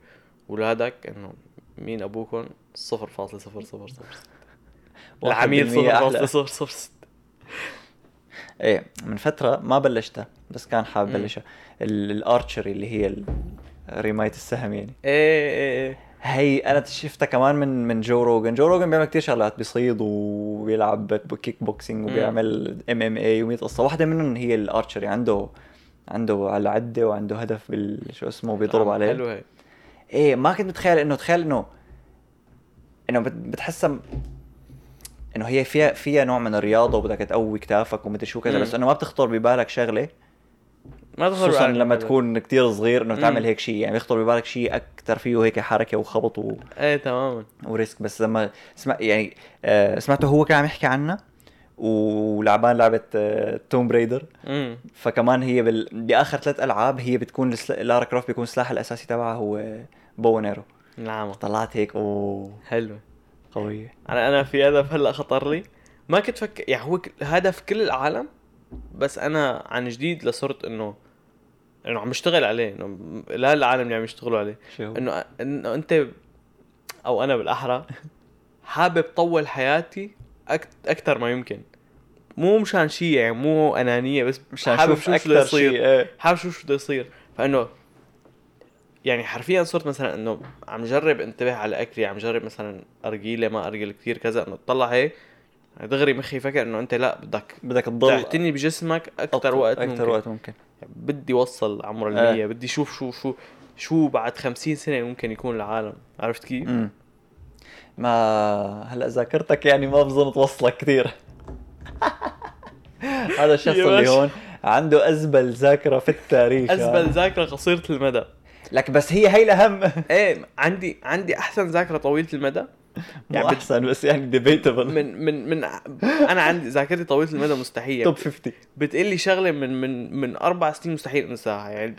اولادك انه مين ابوكم صفر فاصل صفر صفر صفر العميل 1% أحلى. 0.006 ايه من فترة ما بلشتها بس كان حابب بلشها ال- الارشري اللي هي ال- رماية السهم يعني ايه ايه ايه هي انا شفتها كمان من من جو روجن جو روجن بيعمل كتير شغلات بيصيد وبيلعب بك- كيك بوكسينج وبيعمل ام ام اي و100 قصه واحده منهم هي الارشري عنده عنده على عده وعنده هدف بال شو اسمه بيضرب عليه حلو هي ايه ما كنت متخيل انه تخيل انه انه بت- بتحسها انه هي فيها فيها نوع من الرياضه وبدك تقوي كتافك ومدري شو كذا مم. بس انه ما بتخطر ببالك شغله ما تخرب خصوصا عليك. لما تكون كتير صغير انه مم. تعمل هيك شيء يعني بيخطر ببالك شيء اكثر فيه هيك حركه وخبط و... ايه تماما وريسك بس لما سمع يعني آه سمعته هو كان عم يحكي عنها ولعبان لعبه آه توم بريدر امم فكمان هي بال... باخر ثلاث العاب هي بتكون السل... لارا كروفت بيكون السلاح الاساسي تبعها هو بو نيرو نعم طلعت هيك اوه حلو قويه انا انا في هدف هلا خطر لي ما كنت فكر يعني هو ك- هدف كل العالم بس انا عن جديد لصرت انه انه عم بشتغل عليه انه م- لا العالم اللي عم يشتغلوا عليه شو انه انه انت او انا بالاحرى حابب طول حياتي اكثر ما يمكن مو مشان شيء يعني مو انانيه بس مشان حابب نشوف شو شو بده اكثر يصير شيء ايه حابب شوف شو بده يصير فانه يعني حرفيا صرت مثلا انه عم جرب انتبه على اكلي عم جرب مثلا ارجيله ما ارجل كثير كذا انه اطلع هيك دغري مخي فكر انه انت لا بدك بدك تضل تعتني بجسمك اكثر وقت ممكن اكثر وقت. وقت ممكن بدي اوصل عمر آه. المية بدي اشوف شو شو شو بعد خمسين سنه ممكن يكون العالم عرفت كيف؟ امم ما هلا ذاكرتك يعني ما بظن توصلك كثير هذا الشخص يا اللي باشا. هون عنده ازبل ذاكره في التاريخ ازبل يعني. ذاكره قصيره المدى لك بس هي هي الاهم ايه عندي عندي احسن ذاكره طويله المدى مو يعني بت- احسن بس يعني ديبيتبل من من من انا عندي ذاكرتي طويله المدى مستحيل توب 50 بتقلي شغله من من من اربع سنين مستحيل انساها يعني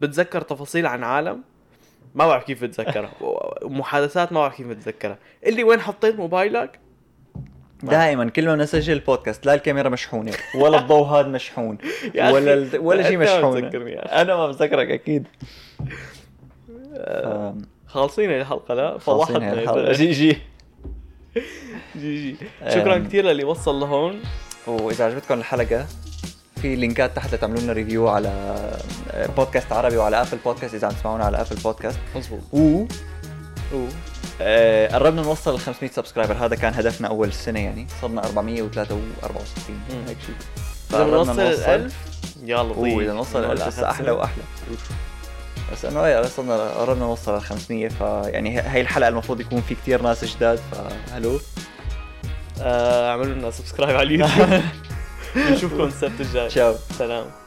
بتذكر تفاصيل عن عالم ما بعرف كيف بتذكرها و- ومحادثات ما بعرف كيف بتذكرها قل لي وين حطيت موبايلك دائما كل ما نسجل بودكاست لا الكاميرا مشحونه ولا الضوء هذا مشحون يا ولا أخي، ال- ولا شيء أنت ما مشحون بتذكرني يا أخي. انا ما بذكرك اكيد آم، خالصين الحلقه لا خلصين هاي الحلقه فضحتنا جي جي جي جي شكرا أم. كثير للي وصل لهون واذا عجبتكم الحلقه في لينكات تحت لتعملوا لنا ريفيو على آه، بودكاست عربي وعلى ابل بودكاست اذا عم تسمعونا على ابل بودكاست مزبوط و و- آه، قربنا نوصل ل 500 سبسكرايبر هذا كان هدفنا اول السنه يعني صرنا 463 مم. هيك شيء اذا فقربنا بنوصل ال 1000 يلا طيب. اوه اذا ضيق. نوصل ال 1000 هسه احلى واحلى بس انه ايه صرنا قربنا نوصل ال 500 فيعني هي- هي الحلقه المفروض يكون في كتير ناس جداد فهلو آه، اعملوا لنا سبسكرايب على اليوتيوب نشوفكم السبت الجاي تشاو سلام